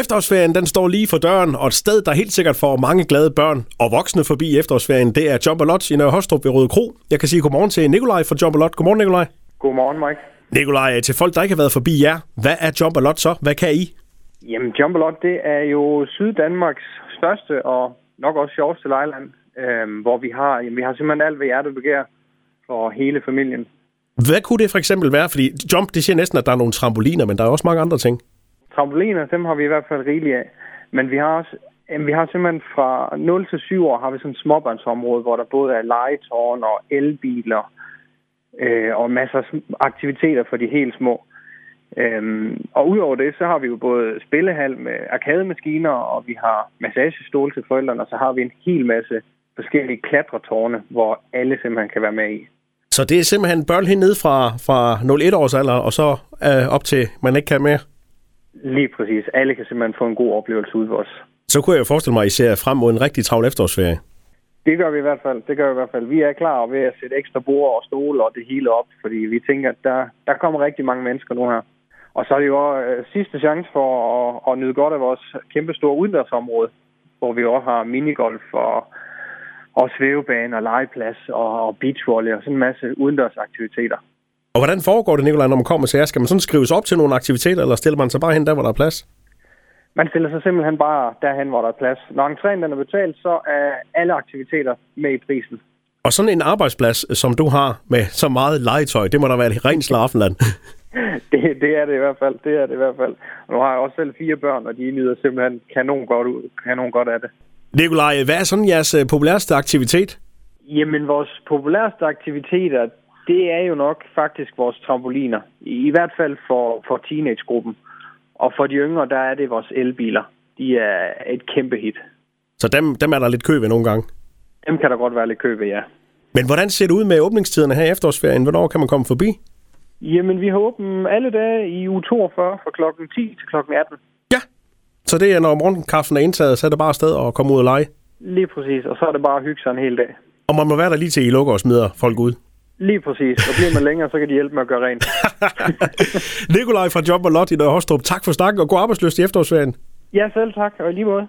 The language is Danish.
Efterårsferien den står lige for døren, og et sted, der helt sikkert får mange glade børn og voksne forbi efterårsferien, det er Jumper Lodge i Nørre Hostrup ved Røde Kro. Jeg kan sige godmorgen til Nikolaj fra Jumper Lodge. Godmorgen, Nikolaj. Godmorgen, Mike. Nikolaj, til folk, der ikke har været forbi jer, hvad er Jumper Lodge så? Hvad kan I? Jamen, Jumbalot, det er jo Syddanmarks største og nok også sjoveste lejland, øhm, hvor vi har, jamen, vi har simpelthen alt, hvad hjertet begærer for hele familien. Hvad kunne det for eksempel være? Fordi jump, det siger næsten, at der er nogle trampoliner, men der er også mange andre ting. Trampoliner, dem har vi i hvert fald rigeligt af. Men vi har også jamen, vi har simpelthen fra 0 til 7 år har vi sådan et småbørnsområde, hvor der både er legetårn og elbiler øh, og masser af sm- aktiviteter for de helt små. Øhm, og udover det, så har vi jo både spillehal med arkademaskiner, og vi har massagestol til forældrene, og så har vi en hel masse forskellige klatretårne, hvor alle simpelthen kan være med i. Så det er simpelthen børn hernede fra, fra 0-1 års alder, og så øh, op til, man ikke kan mere. Lige præcis. Alle kan simpelthen få en god oplevelse ude ved os. Så kunne jeg jo forestille mig, at I ser frem mod en rigtig travl efterårsferie. Det gør vi i hvert fald. Det gør vi i hvert fald. Vi er klar ved at sætte ekstra bord og stole og det hele op, fordi vi tænker, at der, der kommer rigtig mange mennesker nu her. Og så er det jo også øh, sidste chance for at, at nyde godt af vores kæmpe store udendørsområde, hvor vi også har minigolf og, og svævebane og legeplads og, og beachvolley og sådan en masse udendørsaktiviteter. Og hvordan foregår det, Nikolaj, når man kommer til jer? Skal man sådan skrives op til nogle aktiviteter, eller stiller man sig bare hen der, hvor der er plads? Man stiller sig simpelthen bare derhen, hvor der er plads. Når entréen den er betalt, så er alle aktiviteter med i prisen. Og sådan en arbejdsplads, øh, som du har med så meget legetøj, det må da være et rent slaraffenland. Det, det er det i hvert fald. Det er det i hvert fald. Og nu har jeg også selv fire børn, og de nyder simpelthen kanon godt, ud, kanon godt af det. Nikolaj, hvad er sådan jeres øh, populærste aktivitet? Jamen, vores populærste aktiviteter, det er jo nok faktisk vores trampoliner. I, i hvert fald for, for teenagegruppen. Og for de yngre, der er det vores elbiler. De er et kæmpe hit. Så dem, dem er der lidt kø ved nogle gange. Dem kan der godt være lidt købe, ja. Men hvordan ser det ud med åbningstiderne her i efterårsferien? Hvornår kan man komme forbi? Jamen, vi har åbent alle dage i uge 42 fra klokken 10 til klokken 18. Ja. Så det er, når morgenkaffen er indtaget, så er det bare afsted og komme ud og lege. Lige præcis, og så er det bare at hygge sig en hel dag. Og man må være der lige til, I lukker og smider folk ud. Lige præcis. Og bliver man længere, så kan de hjælpe med at gøre rent. Nikolaj fra Job og Lot i Nørre Hostrup, tak for snakken og god arbejdsløst i efterårsferien. Ja, selv tak, og i lige måde.